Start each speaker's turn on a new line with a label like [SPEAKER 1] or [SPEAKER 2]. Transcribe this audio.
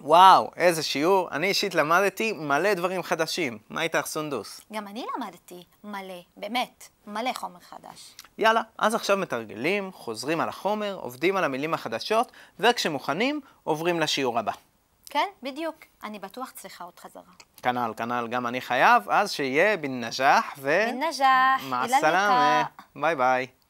[SPEAKER 1] וואו, איזה שיעור. אני אישית למדתי מלא דברים חדשים. מה איתך, סונדוס?
[SPEAKER 2] גם אני למדתי מלא, באמת, מלא חומר חדש.
[SPEAKER 1] יאללה, אז עכשיו מתרגלים, חוזרים על החומר, עובדים על המילים החדשות, וכשמוכנים, עוברים לשיעור הבא.
[SPEAKER 2] כן, בדיוק. אני בטוח צריכה עוד חזרה.
[SPEAKER 1] כנ"ל, כנ"ל, גם אני חייב, אז שיהיה בן נג'אח ו...
[SPEAKER 2] בן נג'אח,
[SPEAKER 1] מע
[SPEAKER 2] אילן
[SPEAKER 1] סלאמה.
[SPEAKER 2] ליקה.
[SPEAKER 1] ביי ביי.